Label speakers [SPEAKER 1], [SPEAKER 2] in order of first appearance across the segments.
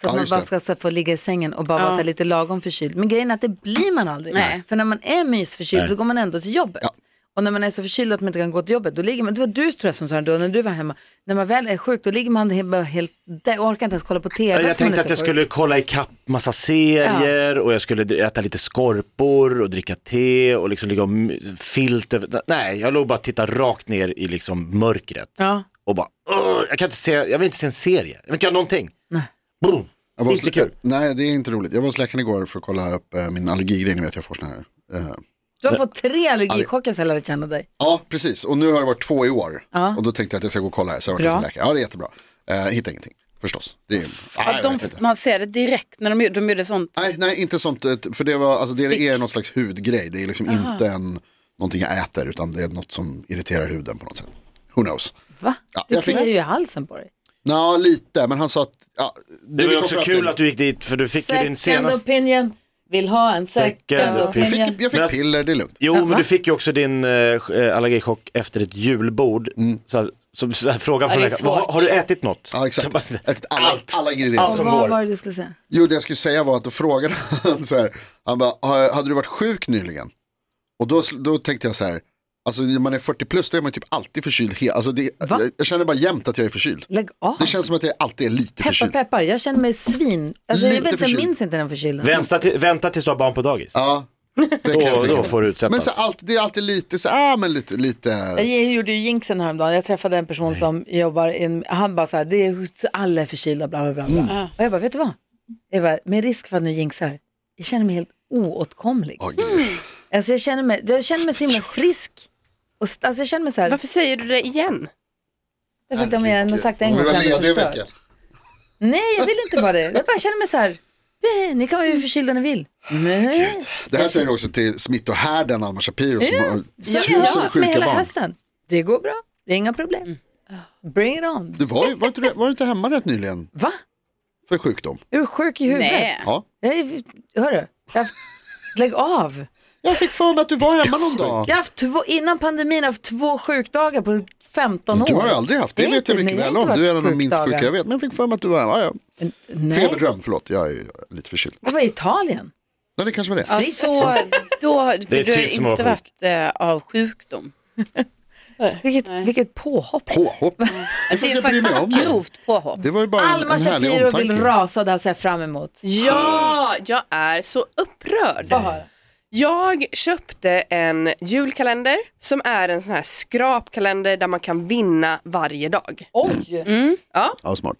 [SPEAKER 1] Så att
[SPEAKER 2] Ja,
[SPEAKER 1] man
[SPEAKER 2] just
[SPEAKER 1] bara
[SPEAKER 2] det.
[SPEAKER 1] ska så här, få ligga i sängen och bara vara så här, lite lagom förkyld. Men grejen är att det blir man aldrig.
[SPEAKER 3] Nej.
[SPEAKER 1] För när man är mysförkyld så går man ändå till jobbet. Och när man är så förkyld att man inte kan gå till jobbet, då ligger man, det var du tror jag som sa det då när du var hemma, när man väl är sjuk då ligger man he- bara helt, där, orkar inte ens kolla på TV. för man är
[SPEAKER 4] Jag tänkte
[SPEAKER 1] så
[SPEAKER 4] att jag
[SPEAKER 1] sjuk.
[SPEAKER 4] skulle kolla ikapp massa serier och jag skulle äta lite skorpor och dricka te och liksom ligga och m- filt över. Nej, jag låg bara och tittade rakt ner i liksom mörkret.
[SPEAKER 1] Ja.
[SPEAKER 4] Och bara, "Åh, jag kan inte se, jag vill inte se en serie. Jag vill inte göra någonting. Nej.
[SPEAKER 2] Jag
[SPEAKER 4] Det
[SPEAKER 2] var
[SPEAKER 4] är
[SPEAKER 2] hos
[SPEAKER 4] inte kul.
[SPEAKER 2] Nej, det är inte roligt. Jag var hos läkaren igår för att kolla upp eh, min allergigrej. Ni vet, jag får såna här. eh,
[SPEAKER 1] Du har fått tre allergichocker sen jag lärde känna dig.
[SPEAKER 2] Ja, precis. Och nu har det varit två i år. Och då tänkte jag att jag ska gå och kolla här. Så jag har varit hos en läkare. Ja, det är jättebra. Eh, hittar ingenting, förstås. Det är, nej,
[SPEAKER 3] Att
[SPEAKER 2] jag
[SPEAKER 3] de,
[SPEAKER 2] vet inte.
[SPEAKER 3] man ser det direkt när de, gjorde- de gjorde sånt.
[SPEAKER 2] Nej, nej, inte sånt. eh, För det, var, alltså, det är någon slags hudgrej. Det är liksom inte en, någonting jag äter utan det är något som irriterar huden på något sätt. Who knows?
[SPEAKER 1] Va?
[SPEAKER 2] Ja,
[SPEAKER 1] det
[SPEAKER 2] jag fick-
[SPEAKER 1] kliar ju i halsen på dig.
[SPEAKER 2] Ja, lite, men han sa att... Ja,
[SPEAKER 4] Det var ju
[SPEAKER 2] vi kom
[SPEAKER 4] också
[SPEAKER 2] fram till-
[SPEAKER 4] kul att du gick dit för du fick ju din
[SPEAKER 1] Second
[SPEAKER 4] senaste...
[SPEAKER 1] opinion, vill ha en second,
[SPEAKER 4] Second
[SPEAKER 2] Jag
[SPEAKER 1] opinion.
[SPEAKER 4] opinion.
[SPEAKER 2] fick, jag
[SPEAKER 4] Men
[SPEAKER 2] fick
[SPEAKER 4] alltså-
[SPEAKER 2] piller, det är lugnt.
[SPEAKER 4] Jo,
[SPEAKER 1] va?
[SPEAKER 4] men du fick ju också din eh, allergichock efter ett julbord. Så, här- så, så här, frågan från
[SPEAKER 3] det är
[SPEAKER 4] läkaren, "Vad har, har du ätit något?
[SPEAKER 2] Ja,
[SPEAKER 4] Så
[SPEAKER 2] exakt.
[SPEAKER 4] bara,
[SPEAKER 2] Ett- Alla,
[SPEAKER 4] Allt.
[SPEAKER 2] alla ingredienser.
[SPEAKER 4] Allt som
[SPEAKER 1] Vad
[SPEAKER 4] går.
[SPEAKER 1] var det du skulle säga?
[SPEAKER 2] Jo, det jag skulle säga var att då frågade han så här, han bara, "Ha- hade du varit sjuk nyligen? Och då, då tänkte jag så här, alltså när man är 40 plus då är man typ alltid förkyld. he- Alltså, det,
[SPEAKER 1] Va?
[SPEAKER 2] jag, jag känner bara jämt att jag är förkyld.
[SPEAKER 1] Lägg av.
[SPEAKER 2] Det känns som att jag alltid är lite
[SPEAKER 1] Peppar
[SPEAKER 2] förkyld.
[SPEAKER 1] peppar, jag känner mig svin. Alltså, jag,
[SPEAKER 2] Lite
[SPEAKER 1] vet, inte, jag
[SPEAKER 2] förkyld.
[SPEAKER 1] minns inte den förkylden.
[SPEAKER 4] Vänta, till, vänta tills du har barn på dagis.
[SPEAKER 2] Ja, det kan jag
[SPEAKER 4] Då,
[SPEAKER 2] tänka
[SPEAKER 4] då
[SPEAKER 2] mig.
[SPEAKER 4] får du utsättas.
[SPEAKER 2] Men så allt, det är alltid lite så ah, men lite, lite.
[SPEAKER 1] Jag gjorde ju jinxen häromdagen, jag träffade en person som jobbar, i en, han bara så här, det är, alla är förkylda, bla bla bla. bla.
[SPEAKER 3] Mm.
[SPEAKER 1] Och jag bara, vet du vad? Jag bara, med risk för att nu jinxar, jag känner mig helt oåtkomlig.
[SPEAKER 2] Åh, gud.
[SPEAKER 1] Alltså jag känner mig, jag känner mig så himla frisk. Och, st- alltså jag känner mig så här,
[SPEAKER 5] Varför säger du det igen?
[SPEAKER 1] därför att om jag har sagt det en
[SPEAKER 2] Om
[SPEAKER 1] gång
[SPEAKER 2] vi
[SPEAKER 1] så
[SPEAKER 2] var
[SPEAKER 1] är jag
[SPEAKER 2] lediga i
[SPEAKER 1] förstörd.
[SPEAKER 2] veckan.
[SPEAKER 1] Nej, jag vill inte vara det. Jag bara känner mig så här, "Eh, ni kan vara hur förkylda ni vill. Nej.
[SPEAKER 2] Det här säger du också till smittohärden Alma Shapiro som har
[SPEAKER 1] Så jag har
[SPEAKER 2] tusen
[SPEAKER 1] haft med
[SPEAKER 2] sjuka
[SPEAKER 1] hela
[SPEAKER 2] barn.
[SPEAKER 1] hösten. Det går bra, det är inga problem. Bring it on.
[SPEAKER 2] Du var, ju- var, inte, du- var du inte hemma rätt nyligen
[SPEAKER 1] Va?
[SPEAKER 2] för sjukdom?
[SPEAKER 1] Är du sjuk i huvudet?
[SPEAKER 3] Nej.
[SPEAKER 2] Ja.
[SPEAKER 1] Jag är, hörru, jag har haft, lägg av.
[SPEAKER 2] Jag fick för mig att du var hemma någon dag.
[SPEAKER 1] Jag har haft två, innan pandemin har jag haft två sjukdagar på 15 år.
[SPEAKER 2] Du har ju aldrig haft det,
[SPEAKER 1] är
[SPEAKER 2] vet jag
[SPEAKER 1] inte-
[SPEAKER 2] mycket
[SPEAKER 1] nej,
[SPEAKER 2] väl
[SPEAKER 1] har
[SPEAKER 2] om.
[SPEAKER 1] inte
[SPEAKER 2] Du är en
[SPEAKER 1] varit
[SPEAKER 2] av de minst
[SPEAKER 1] sjukdagar.
[SPEAKER 2] sjuka jag vet. Men jag fick för mig att du var hemma. Ja, ja.
[SPEAKER 1] Nej,
[SPEAKER 2] Feberdröm, förlåt. Jag är ju lite förkyld.
[SPEAKER 1] det var i Italien.
[SPEAKER 2] Nej, det kanske var det.
[SPEAKER 3] Ja, så då, för
[SPEAKER 4] Det är
[SPEAKER 3] du har
[SPEAKER 4] typ som att
[SPEAKER 3] inte
[SPEAKER 4] vara
[SPEAKER 3] varit eh, av sjukdom.
[SPEAKER 1] Vilket, vilket påhopp.
[SPEAKER 2] Påhopp. Det
[SPEAKER 3] Det
[SPEAKER 2] får
[SPEAKER 3] är
[SPEAKER 2] jag bry
[SPEAKER 3] faktiskt
[SPEAKER 2] mig om.
[SPEAKER 3] ett grovt påhopp.
[SPEAKER 2] Det var ju bara en,
[SPEAKER 1] Alma
[SPEAKER 2] en härlig
[SPEAKER 1] Shapiro vill
[SPEAKER 2] omtanke.
[SPEAKER 1] rasa och det här ser jag fram emot.
[SPEAKER 5] Ja,
[SPEAKER 3] Mm.
[SPEAKER 5] jag är så upprörd. Jag köpte en julkalender som är en sån här skrapkalender där man kan vinna varje dag.
[SPEAKER 1] Oj!
[SPEAKER 2] Ja, smart.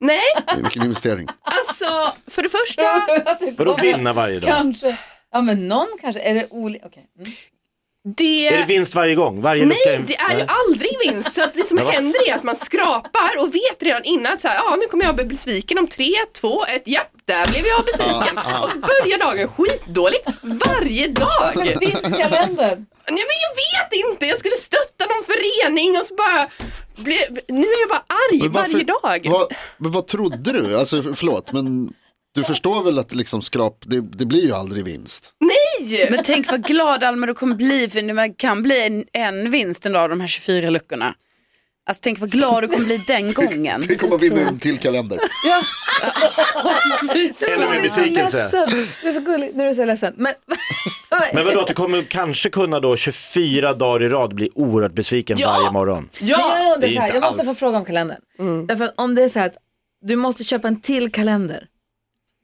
[SPEAKER 5] Nej,
[SPEAKER 2] Vilken investering.
[SPEAKER 5] alltså för det första,
[SPEAKER 4] Vadå vinna varje dag?
[SPEAKER 1] Kanske. Ja men någon kanske, är det olika? Okej. Mm.
[SPEAKER 5] det...
[SPEAKER 4] Är det vinst varje gång? Varje lucka?
[SPEAKER 5] Nej, det är ju aldrig vinst. Så att det som
[SPEAKER 4] Men vad-
[SPEAKER 5] händer är att man skrapar och vet redan innan att så här, ah, nu kommer jag bli besviken om tre, två, ett, japp, där blev jag besviken. Och så börjar dagen skitdåligt varje dag.
[SPEAKER 1] Vinstkalendern!
[SPEAKER 5] Nej men jag vet inte, jag skulle stötta någon förening och så bara, ble, nu är jag bara arg
[SPEAKER 2] Men varför-
[SPEAKER 5] varje dag.
[SPEAKER 2] Vad, men vad trodde du? Alltså, för- förlåt, men du förstår väl att liksom skrap, det, det blir ju aldrig vinst.
[SPEAKER 5] Nej!
[SPEAKER 3] Men tänk vad glad Alma du kommer bli för det kan bli en, en vinst en dag av de här 24 luckorna. Alltså tänk vad glad du kommer bli den gången.
[SPEAKER 2] Tänk om man vinner en till kalender.
[SPEAKER 4] Eller med besvikelse?
[SPEAKER 1] Ledsen. Du är så gullig, nu är du så ledsen. Men,
[SPEAKER 4] Men vadå, att du kommer kanske kunna då 24 dagar i rad bli oerhört besviken
[SPEAKER 5] Ja.
[SPEAKER 4] varje morgon?
[SPEAKER 1] Men jag undrar
[SPEAKER 4] Det är
[SPEAKER 1] så här,
[SPEAKER 4] inte
[SPEAKER 1] jag måste
[SPEAKER 4] alls-
[SPEAKER 1] få fråga om kalendern.
[SPEAKER 5] Mm.
[SPEAKER 1] Därför att om det är så här att du måste köpa en till kalender.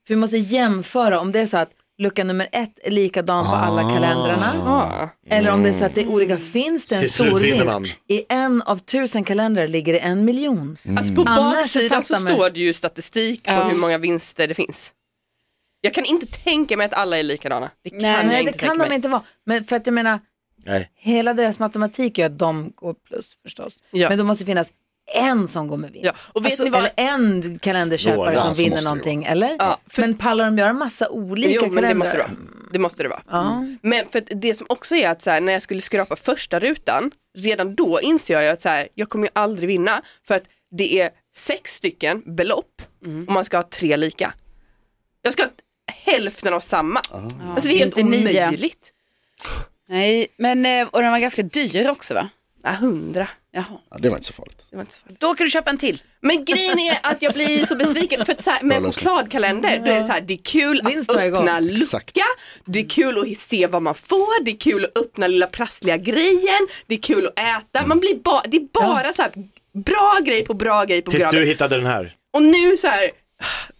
[SPEAKER 1] För vi måste jämföra om det är så att lucka nummer ett är likadan på alla
[SPEAKER 4] Ah.
[SPEAKER 1] kalendrarna.
[SPEAKER 5] Ah.
[SPEAKER 1] Eller om det är så att det är olika,
[SPEAKER 5] Mm.
[SPEAKER 1] finns det en
[SPEAKER 4] Till
[SPEAKER 1] stor
[SPEAKER 4] slut vinner
[SPEAKER 1] vinst? I en av tusen kalendrar ligger det en miljon.
[SPEAKER 5] Alltså på
[SPEAKER 1] Annars
[SPEAKER 5] baksidan så
[SPEAKER 1] fattar man.
[SPEAKER 5] står det ju statistik på hur många vinster det finns. Jag kan inte tänka mig att alla är likadana. Det kan
[SPEAKER 3] Nej,
[SPEAKER 5] jag
[SPEAKER 1] Nej,
[SPEAKER 5] inte
[SPEAKER 1] det
[SPEAKER 5] tänka
[SPEAKER 1] kan
[SPEAKER 5] mig.
[SPEAKER 1] de inte vara. Men för att jag menar,
[SPEAKER 4] Nej.
[SPEAKER 1] hela deras matematik gör att de går plus förstås.
[SPEAKER 5] Ja.
[SPEAKER 1] Men då måste det finnas en som går med vinst. Alltså,
[SPEAKER 5] Ja, och vet ni vad-
[SPEAKER 1] Eller en kalenderköpare
[SPEAKER 4] Några
[SPEAKER 1] som
[SPEAKER 2] som
[SPEAKER 1] vinner
[SPEAKER 2] måste det
[SPEAKER 1] någonting, eller?
[SPEAKER 5] Ja, för-
[SPEAKER 1] Men pallar de göra massa olika
[SPEAKER 5] Jo, men det måste det
[SPEAKER 1] kalendrar?
[SPEAKER 5] vara. Det måste det vara. Men för att det som också är att så här, när jag skulle skrapa första rutan, redan då inser jag ju att så här, jag kommer ju aldrig vinna för att det är sex stycken belopp och man ska ha tre lika. Jag ska ha hälften av samma. Alltså det är helt
[SPEAKER 3] Inte nio.
[SPEAKER 5] omöjligt.
[SPEAKER 3] Nej, men eh, och den var ganska dyr också va?
[SPEAKER 5] Nej, hundra.
[SPEAKER 3] Jaha.
[SPEAKER 2] Ja, det var inte så farligt.
[SPEAKER 5] Det var inte så farligt.
[SPEAKER 3] Då kan du köpa en till.
[SPEAKER 5] Men grejen är att jag blir så besviken för att så här, med en chokladkalender då är det så här, det är kul att
[SPEAKER 1] Vinst varje gång.
[SPEAKER 5] öppna
[SPEAKER 2] Exakt.
[SPEAKER 5] lucka, det är kul att se vad man får, det är kul att öppna lilla prassliga grejen, det är kul att äta, man blir ba- det är bara så här bra grej på bra grej på
[SPEAKER 4] Tills
[SPEAKER 5] bra
[SPEAKER 4] du
[SPEAKER 5] grej.
[SPEAKER 4] hittade den här.
[SPEAKER 5] Och nu så här,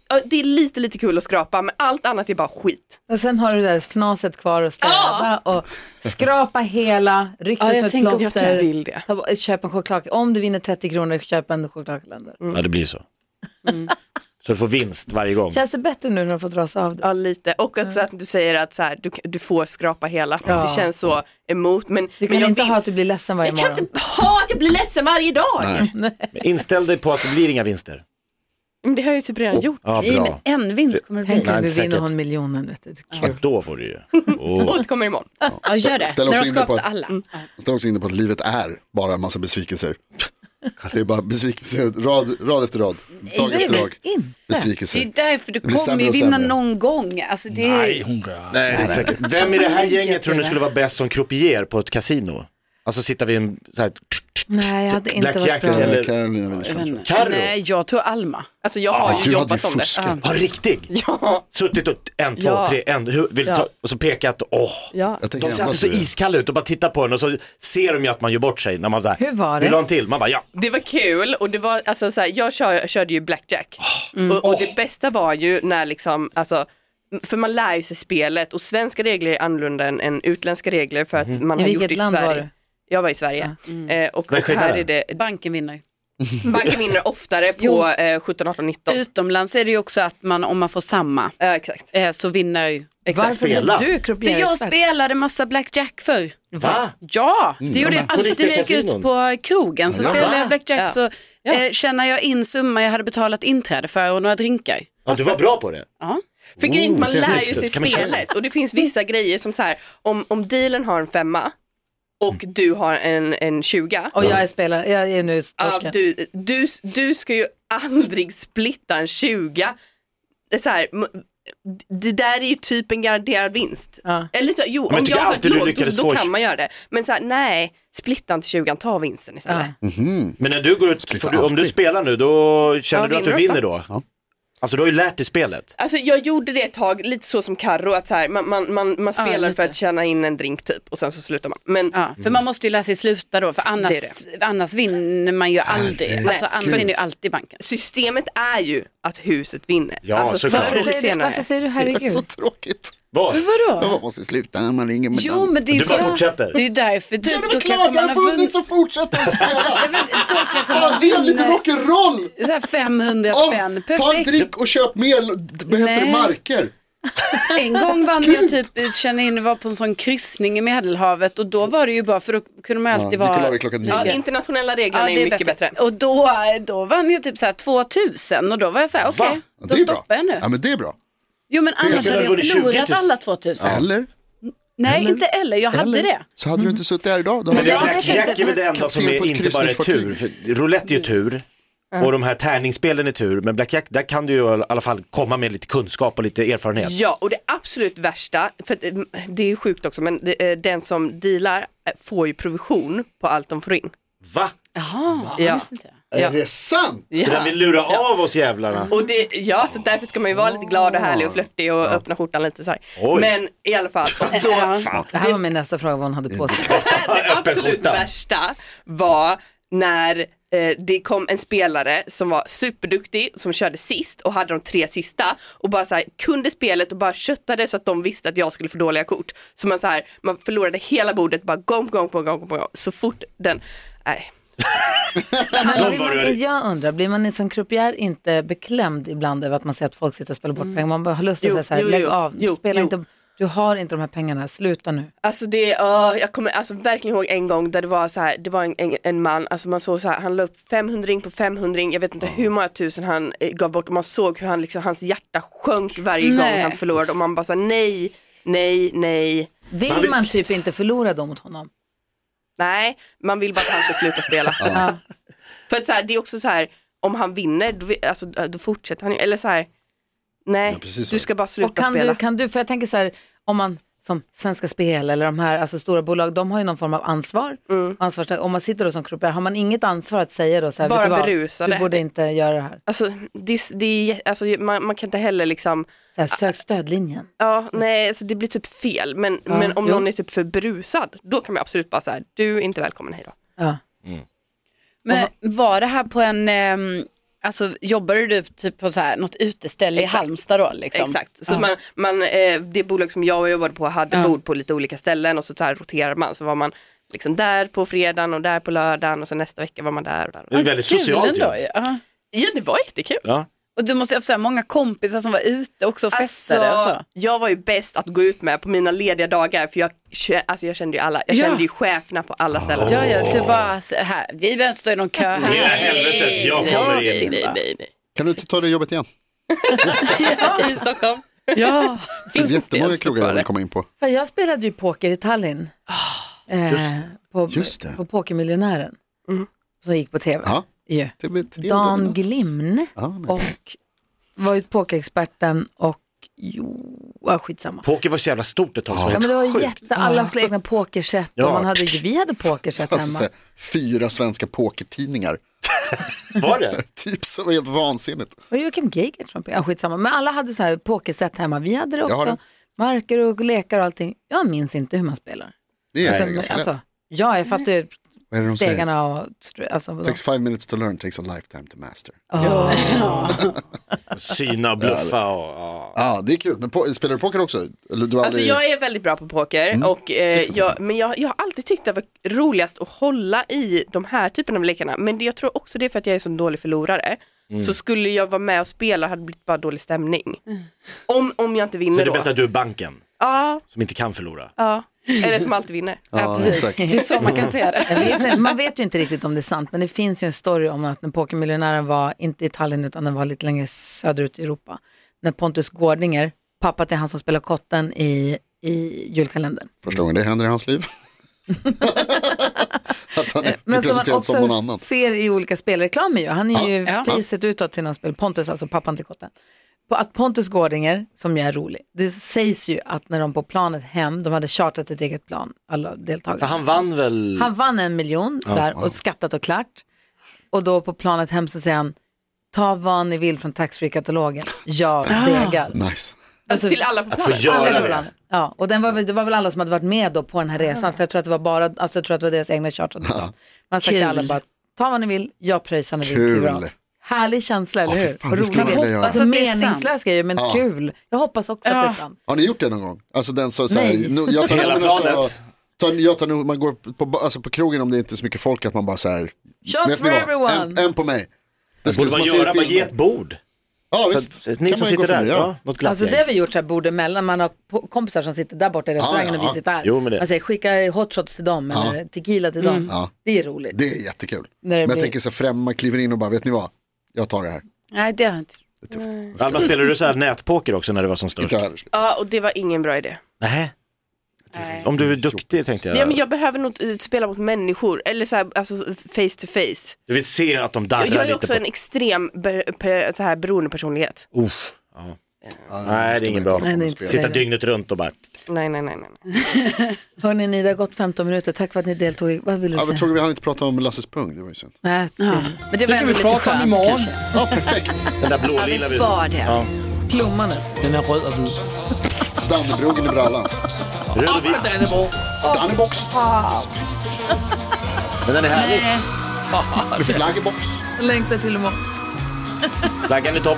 [SPEAKER 5] ja, det är lite lite kul att skrapa men allt annat är bara skit.
[SPEAKER 1] Och sen har du det där fnaset kvar att städa och skrapa hela, ryck
[SPEAKER 3] Ja,
[SPEAKER 1] det
[SPEAKER 3] jag
[SPEAKER 1] som ett
[SPEAKER 3] tänker- jag
[SPEAKER 1] plåster.
[SPEAKER 5] vill det.
[SPEAKER 1] Ta bort- Köp en choklad, om du vinner 30 kronor, köp en chokladkalender.
[SPEAKER 5] Mm.
[SPEAKER 4] Ja, det blir så. Så du får vinst varje gång.
[SPEAKER 1] Känns det bättre nu när du fått rasa av det?
[SPEAKER 5] Ja lite och också att du säger att så här, du, du får skrapa hela, det känns så emot men
[SPEAKER 1] Du kan
[SPEAKER 5] men jag
[SPEAKER 1] inte
[SPEAKER 5] vill-
[SPEAKER 1] ha att du blir ledsen varje
[SPEAKER 5] jag kan
[SPEAKER 1] morgon.
[SPEAKER 5] inte ha att jag blir ledsen varje dag.
[SPEAKER 4] Men Inställ dig på att det blir inga vinster.
[SPEAKER 5] Men det har jag ju typ redan gjort.
[SPEAKER 4] Ja,
[SPEAKER 3] Nej,
[SPEAKER 4] bra.
[SPEAKER 3] men en vinst kommer det bli.
[SPEAKER 1] Tänk
[SPEAKER 4] Nej,
[SPEAKER 1] om du
[SPEAKER 4] inte
[SPEAKER 1] vinner
[SPEAKER 4] säkert.
[SPEAKER 1] hon miljonen, vet du. Det är
[SPEAKER 4] Ja,
[SPEAKER 1] kul.
[SPEAKER 4] då får du ju. Åh.
[SPEAKER 5] Återkommer imorgon.
[SPEAKER 3] Ja, gör det.
[SPEAKER 2] Ställ
[SPEAKER 3] När
[SPEAKER 2] också
[SPEAKER 3] de
[SPEAKER 2] in det på
[SPEAKER 3] skapat
[SPEAKER 2] att-
[SPEAKER 3] alla.
[SPEAKER 2] Jag står också inne på att livet är bara en massa besvikelser. Det är bara besvikelser, rad, rad efter rad, dag
[SPEAKER 1] Nej,
[SPEAKER 2] efter
[SPEAKER 1] men
[SPEAKER 2] dag.
[SPEAKER 1] inte.
[SPEAKER 3] Det är
[SPEAKER 2] Besvikelser.
[SPEAKER 3] därför du
[SPEAKER 2] Det
[SPEAKER 3] kommer
[SPEAKER 2] blir sämre
[SPEAKER 3] ju
[SPEAKER 2] och
[SPEAKER 3] vinna
[SPEAKER 2] sämre.
[SPEAKER 3] någon gång. Alltså, det är...
[SPEAKER 6] Nej, hon gör.
[SPEAKER 4] Nej, det är inte säkert. Vem i det här gänget tror ni skulle vara bäst som croupier på ett kasino? Alltså sitta vid en så här,
[SPEAKER 1] Nej, jag hade inte varit
[SPEAKER 4] Blackjack
[SPEAKER 1] bra.
[SPEAKER 4] eller-
[SPEAKER 2] Ja, Carolina
[SPEAKER 3] Jag vet
[SPEAKER 2] Widerström.
[SPEAKER 3] inte.
[SPEAKER 4] Carro?
[SPEAKER 3] Nej, jag tror Alma.
[SPEAKER 5] Alltså jag har ju
[SPEAKER 2] Du hade ju
[SPEAKER 5] jobbat som det.
[SPEAKER 2] fuskat.
[SPEAKER 4] ja riktig,
[SPEAKER 5] Ja,
[SPEAKER 4] suttit och en, två,
[SPEAKER 5] Ja.
[SPEAKER 4] tre, en, hur, vill du
[SPEAKER 5] Ja.
[SPEAKER 4] ta, och så pekat, åh.
[SPEAKER 5] ja.
[SPEAKER 2] Jag tänker
[SPEAKER 4] De ser
[SPEAKER 2] ändå
[SPEAKER 4] alltid så
[SPEAKER 2] på det.
[SPEAKER 4] iskalla ut och bara tittar på en och så ser de ju att man gör bort sig när man så här,
[SPEAKER 1] Hur var det?
[SPEAKER 4] Vill du ha en till? Man bara ja.
[SPEAKER 5] Det var kul och det var, alltså så här, jag kör, körde ju blackjack.
[SPEAKER 2] Ah.
[SPEAKER 5] Mm. Och,
[SPEAKER 2] Oh.
[SPEAKER 5] och det bästa var ju när liksom, alltså för man lär ju sig spelet och svenska regler är annorlunda än, än utländska regler för att
[SPEAKER 2] Mhm.
[SPEAKER 5] man
[SPEAKER 1] I
[SPEAKER 5] har gjort
[SPEAKER 1] vilket
[SPEAKER 5] det i
[SPEAKER 1] land
[SPEAKER 5] Sverige.
[SPEAKER 1] var du?
[SPEAKER 5] Jag var i Sverige.
[SPEAKER 2] Mm.
[SPEAKER 5] Eh, och,
[SPEAKER 4] Vad är
[SPEAKER 5] och här är
[SPEAKER 4] skillnaden?
[SPEAKER 5] det,
[SPEAKER 3] Banken vinner ju.
[SPEAKER 5] banken vinner oftare på eh, 17, 18, 19.
[SPEAKER 3] Utomlands är det ju också att man, om man får samma
[SPEAKER 5] Eh, exakt.
[SPEAKER 3] eh, så vinner ju.
[SPEAKER 5] exakt.
[SPEAKER 1] Varför blev
[SPEAKER 4] Spela.
[SPEAKER 1] du
[SPEAKER 3] För jag
[SPEAKER 1] croupier-expert?
[SPEAKER 3] spelade massa blackjack förr.
[SPEAKER 4] Va?
[SPEAKER 3] Ja, det gjorde jag alltid när jag gick
[SPEAKER 4] kasinon.
[SPEAKER 3] ut på krogen så
[SPEAKER 2] Ja.
[SPEAKER 3] spelade jag blackjack
[SPEAKER 5] Ja.
[SPEAKER 3] så
[SPEAKER 5] Ja.
[SPEAKER 3] eh, tjänade jag in summa jag hade betalat inträde för och några drinkar.
[SPEAKER 4] Ja, du var bra på det.
[SPEAKER 3] Ja.
[SPEAKER 5] För grejen är att man
[SPEAKER 4] Oh,
[SPEAKER 5] lär ju
[SPEAKER 4] riktigt.
[SPEAKER 5] sig
[SPEAKER 4] Kan man känna?
[SPEAKER 5] spelet och det finns vissa grejer som så här, om, om dealen har en femma och
[SPEAKER 4] Mm.
[SPEAKER 5] du har en, en 20
[SPEAKER 1] Och jag är spelare, jag är nu
[SPEAKER 5] Ja,
[SPEAKER 1] torsken.
[SPEAKER 5] du, du, du ska ju aldrig splitta en 20. Det, är så här, m- det där är ju typ en garanterad vinst.
[SPEAKER 1] Ja.
[SPEAKER 5] Eller så, jo,
[SPEAKER 4] jag
[SPEAKER 5] om jag
[SPEAKER 4] tycker
[SPEAKER 5] har ett
[SPEAKER 4] alltid du
[SPEAKER 5] lån då,
[SPEAKER 4] lyckades
[SPEAKER 5] då
[SPEAKER 4] få-
[SPEAKER 5] kan man göra det. Men så här, nej, splitta inte 20 ta vinsten istället.
[SPEAKER 1] Ja.
[SPEAKER 4] Men när du går ut, får du, om du
[SPEAKER 2] alltid.
[SPEAKER 4] spelar nu, då känner
[SPEAKER 5] Ja,
[SPEAKER 4] du att du
[SPEAKER 5] vinner
[SPEAKER 4] vinner då? Alltså du har ju lärt dig spelet.
[SPEAKER 5] Alltså jag gjorde det ett tag, lite så som Karro att så här, man, man, man, man
[SPEAKER 3] Ja,
[SPEAKER 5] spelar
[SPEAKER 3] lite.
[SPEAKER 5] för att tjäna in en drink typ och sen så slutar man. Men
[SPEAKER 3] Ja, för man måste ju lära sig sluta då, för annars, annars vinner man ju aldrig. Alltså, annars vinner ju alltid banken.
[SPEAKER 5] systemet är ju att huset vinner.
[SPEAKER 4] Ja,
[SPEAKER 5] alltså,
[SPEAKER 4] såklart.
[SPEAKER 5] förr eller
[SPEAKER 1] Varför säger, du,
[SPEAKER 5] senare.
[SPEAKER 1] varför säger du
[SPEAKER 2] Det är så
[SPEAKER 1] herregud?
[SPEAKER 2] tråkigt.
[SPEAKER 4] Vad?
[SPEAKER 3] Vadå?
[SPEAKER 2] Jag måste sluta när man ringer med
[SPEAKER 3] Jo, men typ det är
[SPEAKER 4] Du
[SPEAKER 3] så.
[SPEAKER 4] bara fortsätter.
[SPEAKER 3] Det är ju därför. Du,
[SPEAKER 2] Ja, det är väl klart, jag har vunnit så fortsätter jag
[SPEAKER 3] Då
[SPEAKER 2] spela.
[SPEAKER 3] kanske
[SPEAKER 2] Fan,
[SPEAKER 3] man
[SPEAKER 2] det är lite
[SPEAKER 3] vinner
[SPEAKER 2] rock'n'roll.
[SPEAKER 3] så här 500
[SPEAKER 2] Ja,
[SPEAKER 3] spänn.
[SPEAKER 2] Ta en
[SPEAKER 3] Perfekt.
[SPEAKER 2] drink och köp mer, vad heter det,
[SPEAKER 3] Nej.
[SPEAKER 2] marker.
[SPEAKER 3] En gång vann jag typ, känner in, var på en sån kryssning i Medelhavet och då var det ju bara, för då kunde man alltid
[SPEAKER 2] Ja,
[SPEAKER 3] vara...
[SPEAKER 2] Nikolaj klockan nio.
[SPEAKER 5] Ja, internationella reglerna är, mycket bättre.
[SPEAKER 3] Och då, då vann jag typ så här 2000 och då var jag så här, okej,
[SPEAKER 2] Ja,
[SPEAKER 3] då
[SPEAKER 2] det är bra.
[SPEAKER 3] stoppar jag nu.
[SPEAKER 2] Ja, men det är bra.
[SPEAKER 3] Jo men annars
[SPEAKER 4] kanske
[SPEAKER 3] hade
[SPEAKER 4] hade
[SPEAKER 3] jag
[SPEAKER 4] varit 20
[SPEAKER 3] förlorat
[SPEAKER 4] 000.
[SPEAKER 3] alla 2000.
[SPEAKER 2] Eller?
[SPEAKER 3] Nej, inte eller, jag hade det. Mm.
[SPEAKER 2] Så hade du inte suttit här idag. Då hade
[SPEAKER 3] jag
[SPEAKER 2] jag
[SPEAKER 3] vet inte.
[SPEAKER 4] Blackjack är väl det enda som
[SPEAKER 2] Kapten
[SPEAKER 4] är
[SPEAKER 2] på ett
[SPEAKER 4] inte bara är
[SPEAKER 2] kryssningsfartyg.
[SPEAKER 4] tur. För roulette är ju tur. Och de här tärningsspelen är tur, men blackjack, där kan du ju i alla fall komma med lite kunskap och lite erfarenhet.
[SPEAKER 5] Ja, och det absolut värsta, för att, eh, det är ju sjukt också, men det, eh, den som dealar eh, får ju provision på allt de får in.
[SPEAKER 4] Va?
[SPEAKER 3] Jaha,
[SPEAKER 5] Ja.
[SPEAKER 3] jag visste inte det.
[SPEAKER 2] Är det sant?
[SPEAKER 4] Så den vill lura av oss jävlarna.
[SPEAKER 5] Och det, ja, så därför ska man ju vara lite glad och härlig och flörtig och öppna skjortan lite så här.
[SPEAKER 4] Oj.
[SPEAKER 5] Men i alla fall, och då,
[SPEAKER 1] Det här var min nästa fråga vad hon hade på sig.
[SPEAKER 5] det
[SPEAKER 4] Öppen
[SPEAKER 5] absolut
[SPEAKER 4] skjorta.
[SPEAKER 5] värsta var när eh, det kom en spelare som var superduktig som körde sist och hade de tre sista och bara så här, kunde spelet och bara köttade så att de visste att jag skulle få dåliga kort. Så man, så här, man förlorade hela bordet bara gång på gång på gång på gång så fort den, nej.
[SPEAKER 4] De
[SPEAKER 1] Men blir
[SPEAKER 4] var
[SPEAKER 1] man,
[SPEAKER 4] rörig.
[SPEAKER 1] jag undrar, blir man som croupier inte beklämd ibland över att man ser att folk sitter och spelar bort
[SPEAKER 3] Mm.
[SPEAKER 1] pengar? Man bara har lust att
[SPEAKER 5] Jo,
[SPEAKER 1] säga så här,
[SPEAKER 5] jo,
[SPEAKER 1] lägg
[SPEAKER 5] jo,
[SPEAKER 1] av,
[SPEAKER 5] jo,
[SPEAKER 1] spela
[SPEAKER 5] jo.
[SPEAKER 1] inte, du har inte de här pengarna, sluta nu.
[SPEAKER 5] Alltså det, åh, jag kommer alltså verkligen ihåg en gång där det var så här, det var en, en, en man, alltså man såg så här, han la upp 500 ring på 500 ring, jag vet inte hur många tusen han eh, gav bort och man såg hur han liksom, hans hjärta sjönk varje
[SPEAKER 3] Nej.
[SPEAKER 5] gång han förlorade och man bara så här, nej, nej, nej,
[SPEAKER 1] Vill
[SPEAKER 4] Man-
[SPEAKER 1] man typ inte förlora då mot honom?
[SPEAKER 5] nej, man vill bara att han ska sluta spela. För att så här, det är också så här, om han vinner, då, vi- alltså, då fortsätter han ju, eller så här, nej,
[SPEAKER 2] Ja, precis så.
[SPEAKER 5] du ska bara
[SPEAKER 1] Och
[SPEAKER 5] sluta
[SPEAKER 1] kan
[SPEAKER 5] spela.
[SPEAKER 1] du, kan du, för jag tänker så här, om man som Svenska Spel eller de här alltså stora bolag, de har ju någon form av ansvar.
[SPEAKER 5] Mm.
[SPEAKER 1] Ansvars, om man sitter då som croupier, har man inget ansvar att säga då så här,
[SPEAKER 5] Bara
[SPEAKER 1] vet du vad,
[SPEAKER 5] berusade.
[SPEAKER 1] du borde inte göra det här.
[SPEAKER 5] Alltså, det, är- det, är- alltså man, man kan inte heller liksom
[SPEAKER 1] Så här sök stödlinjen.
[SPEAKER 5] Ja, nej, alltså det blir typ fel. Men, men om
[SPEAKER 1] jo.
[SPEAKER 5] någon är typ för brusad, då kan man absolut bara säga du är inte välkommen, hej då.
[SPEAKER 1] Ja.
[SPEAKER 3] Men var det här på en, ehm, alltså jobbade du typ på så här, något uteställe i
[SPEAKER 5] Exakt.
[SPEAKER 3] Halmstad då liksom?
[SPEAKER 5] Exakt, så man, man, eh, det bolag som jag jobbade på hade bord på lite olika ställen och så, så här roterar man. Så var man liksom där på fredagen och där på lördagen och sen nästa vecka var man där. Och där.
[SPEAKER 4] Det är väldigt
[SPEAKER 3] Kul
[SPEAKER 4] socialt
[SPEAKER 3] ändå
[SPEAKER 4] ju.
[SPEAKER 3] ju. Ja.
[SPEAKER 5] Ja, det var jättekul.
[SPEAKER 4] Ja.
[SPEAKER 3] Och du måste ju ha haft så här många kompisar som var ute också och festade och så.
[SPEAKER 5] Alltså, jag var ju bäst att gå ut med på mina lediga dagar för jag, kä- alltså jag kände ju alla, jag
[SPEAKER 3] Ja.
[SPEAKER 5] kände ju cheferna på alla ställen.
[SPEAKER 3] Ja, ja, du
[SPEAKER 5] Alltså.
[SPEAKER 3] bara, så här, vi behöver inte stå i någon kö här.
[SPEAKER 4] Hela helvetet, jag kommer in.
[SPEAKER 5] Nej, nej, nej.
[SPEAKER 2] Kan du inte ta det jobbet igen?
[SPEAKER 5] I Stockholm.
[SPEAKER 3] Ja.
[SPEAKER 2] Det finns jättemånga
[SPEAKER 5] ens
[SPEAKER 2] krogar jag
[SPEAKER 5] fortfarande?
[SPEAKER 2] vill komma in på.
[SPEAKER 1] Fan, jag spelade ju poker i Tallinn. eh, på,
[SPEAKER 2] just Ah, det. Mm.
[SPEAKER 1] på Pokermiljonären. Som gick på tv.
[SPEAKER 2] Ja.
[SPEAKER 1] Ju.
[SPEAKER 2] TV3
[SPEAKER 1] Dan
[SPEAKER 2] Jonas.
[SPEAKER 1] Glimn
[SPEAKER 2] Ja, men-
[SPEAKER 1] och var ju pokerexperten och jo, ah, skitsamma.
[SPEAKER 4] Poker var så jävla stort ett tag.
[SPEAKER 1] Ja,
[SPEAKER 4] Ja.
[SPEAKER 1] men det var jätte, alla skulle ha egna pokerset och
[SPEAKER 4] Ja.
[SPEAKER 1] man hade, ju- vi hade pokerset
[SPEAKER 2] Alltså,
[SPEAKER 1] hemma.
[SPEAKER 2] så här, fyra svenska pokertidningar.
[SPEAKER 4] Var det?
[SPEAKER 2] Typ så helt vansinnigt.
[SPEAKER 1] Och Joakim Geigert från ja, skitsamma. Men alla hade så här pokerset hemma. Vi hade det
[SPEAKER 2] Jag har
[SPEAKER 1] också. Marker och lekar och allting. Jag minns inte hur man spelar.
[SPEAKER 2] Det är
[SPEAKER 1] Alltså,
[SPEAKER 2] ganska
[SPEAKER 1] alltså,
[SPEAKER 2] rätt.
[SPEAKER 1] ja, jag fattar ju
[SPEAKER 2] Vad är det de säger?
[SPEAKER 1] stegarna och... str- Alltså, vadå?
[SPEAKER 2] Takes five minutes to learn, takes a lifetime to master. Ja,
[SPEAKER 4] Syna och bluffa och... Ja.
[SPEAKER 2] ah, det är kul. Men po- spelar du poker också? Eller du har
[SPEAKER 5] Alltså
[SPEAKER 2] aldrig...
[SPEAKER 5] jag är väldigt bra på poker,
[SPEAKER 4] Mm.
[SPEAKER 5] och, eh, jag, men jag, jag har alltid tyckt det var roligast att hålla i de här typen av lekarna. Men det, jag tror också det är för att jag är så dålig förlorare.
[SPEAKER 4] Mm.
[SPEAKER 5] Så skulle jag vara med och spela hade det blivit bara dålig stämning.
[SPEAKER 3] Mm.
[SPEAKER 5] Om, om jag inte
[SPEAKER 4] Så
[SPEAKER 5] vinner
[SPEAKER 4] är det
[SPEAKER 5] då.
[SPEAKER 4] bättre att du är banken,
[SPEAKER 5] Ja,
[SPEAKER 4] som inte kan förlora.
[SPEAKER 5] ja. Eller som alltid vinner.
[SPEAKER 2] Ja, exakt.
[SPEAKER 3] Det är så man kan säga
[SPEAKER 1] Jag
[SPEAKER 3] det.
[SPEAKER 1] vet inte, man vet ju inte riktigt om det är sant, men det finns ju en story om att när Pokermiljonären var, inte i Tallinn utan den var lite längre söderut i Europa, när Pontus Gårdinger, pappa till han som spelar kotten i, i julkalendern.
[SPEAKER 2] Första gången det händer i hans liv. Att han blir
[SPEAKER 1] Men som
[SPEAKER 2] presenterad
[SPEAKER 1] man också
[SPEAKER 2] som någon annan.
[SPEAKER 1] ser i olika spelreklamer ju. Han är ju
[SPEAKER 3] Ja.
[SPEAKER 1] fiset utåt till någon spel. Pontus, alltså pappan till kotten. På att Pontus Gårdinger, som jag är rolig, det sägs ju att när de på planet hem, de hade chartrat ett eget plan, alla deltagare.
[SPEAKER 4] För han vann väl...
[SPEAKER 2] Mm.
[SPEAKER 1] Han vann en miljon där och skattat och klart. Och då på planet hem så säger han, Ta vad ni vill från taxfree-katalogen. Jag
[SPEAKER 2] Ah.
[SPEAKER 1] degar.
[SPEAKER 2] Nice.
[SPEAKER 1] Alltså,
[SPEAKER 5] Till alla på
[SPEAKER 4] Att få
[SPEAKER 5] planen.
[SPEAKER 4] göra
[SPEAKER 1] alla
[SPEAKER 4] det.
[SPEAKER 1] ibland. Ja, och den var, väl- det var väl alla som hade varit med då på den här resan, för jag tror att det var bara, alltså jag tror att det var deras egna chartrade plan. Man sa till
[SPEAKER 3] Kul.
[SPEAKER 1] alla bara, ta vad ni vill, jag pröjsar när vi
[SPEAKER 2] Kul.
[SPEAKER 1] kliver av. Härlig känsla, eller
[SPEAKER 2] Ja, fy
[SPEAKER 1] hur?
[SPEAKER 2] fan,
[SPEAKER 1] Och
[SPEAKER 2] det skulle
[SPEAKER 1] roligt.
[SPEAKER 2] jag vilja göra.
[SPEAKER 1] Alltså,
[SPEAKER 3] Hoppas att det är sant.
[SPEAKER 1] meningslös grej, men
[SPEAKER 2] Ja.
[SPEAKER 1] kul. Jag hoppas också att det är sant.
[SPEAKER 2] Har ni gjort det någon gång? Alltså den som så här,
[SPEAKER 1] Nej.
[SPEAKER 2] nu, jag tar
[SPEAKER 4] Hela
[SPEAKER 2] men alltså,
[SPEAKER 4] planet.
[SPEAKER 2] tar- Jag tar nog, man går på, ba- alltså på krogen om det inte är så mycket folk att man bara så här.
[SPEAKER 1] Shots
[SPEAKER 2] vet ni
[SPEAKER 1] for
[SPEAKER 2] vad?
[SPEAKER 1] everyone.
[SPEAKER 2] En, en på mig. Det
[SPEAKER 4] Borde man
[SPEAKER 2] som se i
[SPEAKER 4] göra, man
[SPEAKER 2] filmen.
[SPEAKER 4] ger ett bord.
[SPEAKER 2] Ja
[SPEAKER 4] Så
[SPEAKER 2] visst.
[SPEAKER 4] att, eh,
[SPEAKER 2] Kan
[SPEAKER 4] ni
[SPEAKER 2] man
[SPEAKER 4] som
[SPEAKER 2] ju
[SPEAKER 4] sitter
[SPEAKER 2] gå
[SPEAKER 4] där,
[SPEAKER 2] förbi,
[SPEAKER 4] ja, något glatt
[SPEAKER 1] Alltså det har
[SPEAKER 4] gäng. Ah,
[SPEAKER 1] vi gjort så här bord emellan, man har po- kompisar som sitter där borta i restaurangen
[SPEAKER 2] Ja,
[SPEAKER 1] och
[SPEAKER 2] ja.
[SPEAKER 1] vi sitter här.
[SPEAKER 4] Jo, men det-
[SPEAKER 1] Man säger skicka hotshots till dem eller tequila till dem.
[SPEAKER 2] Mm. Ja.
[SPEAKER 1] Det är roligt.
[SPEAKER 2] Det är jättekul.
[SPEAKER 1] När det
[SPEAKER 2] Men jag
[SPEAKER 1] blir-
[SPEAKER 2] tänker så här, främmar kliver in och bara, vet ni vad? Jag tar det här.
[SPEAKER 3] Nej, det har jag inte.
[SPEAKER 4] Alma, spelade du så här nätpoker också när det var som störst?
[SPEAKER 2] Inte här.
[SPEAKER 5] Ja, och det var ingen bra idé.
[SPEAKER 4] Nej. Om
[SPEAKER 2] Mm,
[SPEAKER 4] du är duktig tänkte jag.
[SPEAKER 5] Nej, men jag behöver nog eh, spela mot människor, eller så här, alltså face to face.
[SPEAKER 4] Du vill se att de darrar
[SPEAKER 5] Jag är ju
[SPEAKER 4] lite
[SPEAKER 5] också
[SPEAKER 4] på...
[SPEAKER 5] en extrem be- pe- så här, beroendepersonlighet.
[SPEAKER 4] Uff, ja.
[SPEAKER 2] Ja,
[SPEAKER 4] Nej, det
[SPEAKER 2] ska
[SPEAKER 4] är ingen
[SPEAKER 2] man
[SPEAKER 4] bra.
[SPEAKER 2] inte hålla på med
[SPEAKER 1] Nej, det är
[SPEAKER 2] spel.
[SPEAKER 1] inte-
[SPEAKER 4] Sitta dygnet runt och bara...
[SPEAKER 5] Nej, nej, nej. nej. nej.
[SPEAKER 1] Hörni, ni, det har gått 15 minuter. Tack för att ni deltog. i- Vad ville du
[SPEAKER 2] Ja,
[SPEAKER 1] säga?
[SPEAKER 2] vi tog vi hann inte prata om Lasses pung, det var ju synd.
[SPEAKER 1] Nej,
[SPEAKER 3] Men det var
[SPEAKER 6] kan vi
[SPEAKER 3] ändå lite
[SPEAKER 6] prata om
[SPEAKER 3] skönt
[SPEAKER 6] imorgon.
[SPEAKER 3] kanske.
[SPEAKER 2] Ja, perfekt.
[SPEAKER 4] Den där blålila...
[SPEAKER 3] Ja, vi spar det.
[SPEAKER 4] Ja.
[SPEAKER 1] Plomma nu.
[SPEAKER 6] Den är röd och vit.
[SPEAKER 2] Dannebrogen i brallan.
[SPEAKER 4] Röd och vit.
[SPEAKER 2] Dannebox,
[SPEAKER 4] Men den är härlig.
[SPEAKER 3] Nej.
[SPEAKER 2] flaggebox.
[SPEAKER 1] Jag längtar till imorgon.
[SPEAKER 4] Flaggan i topp.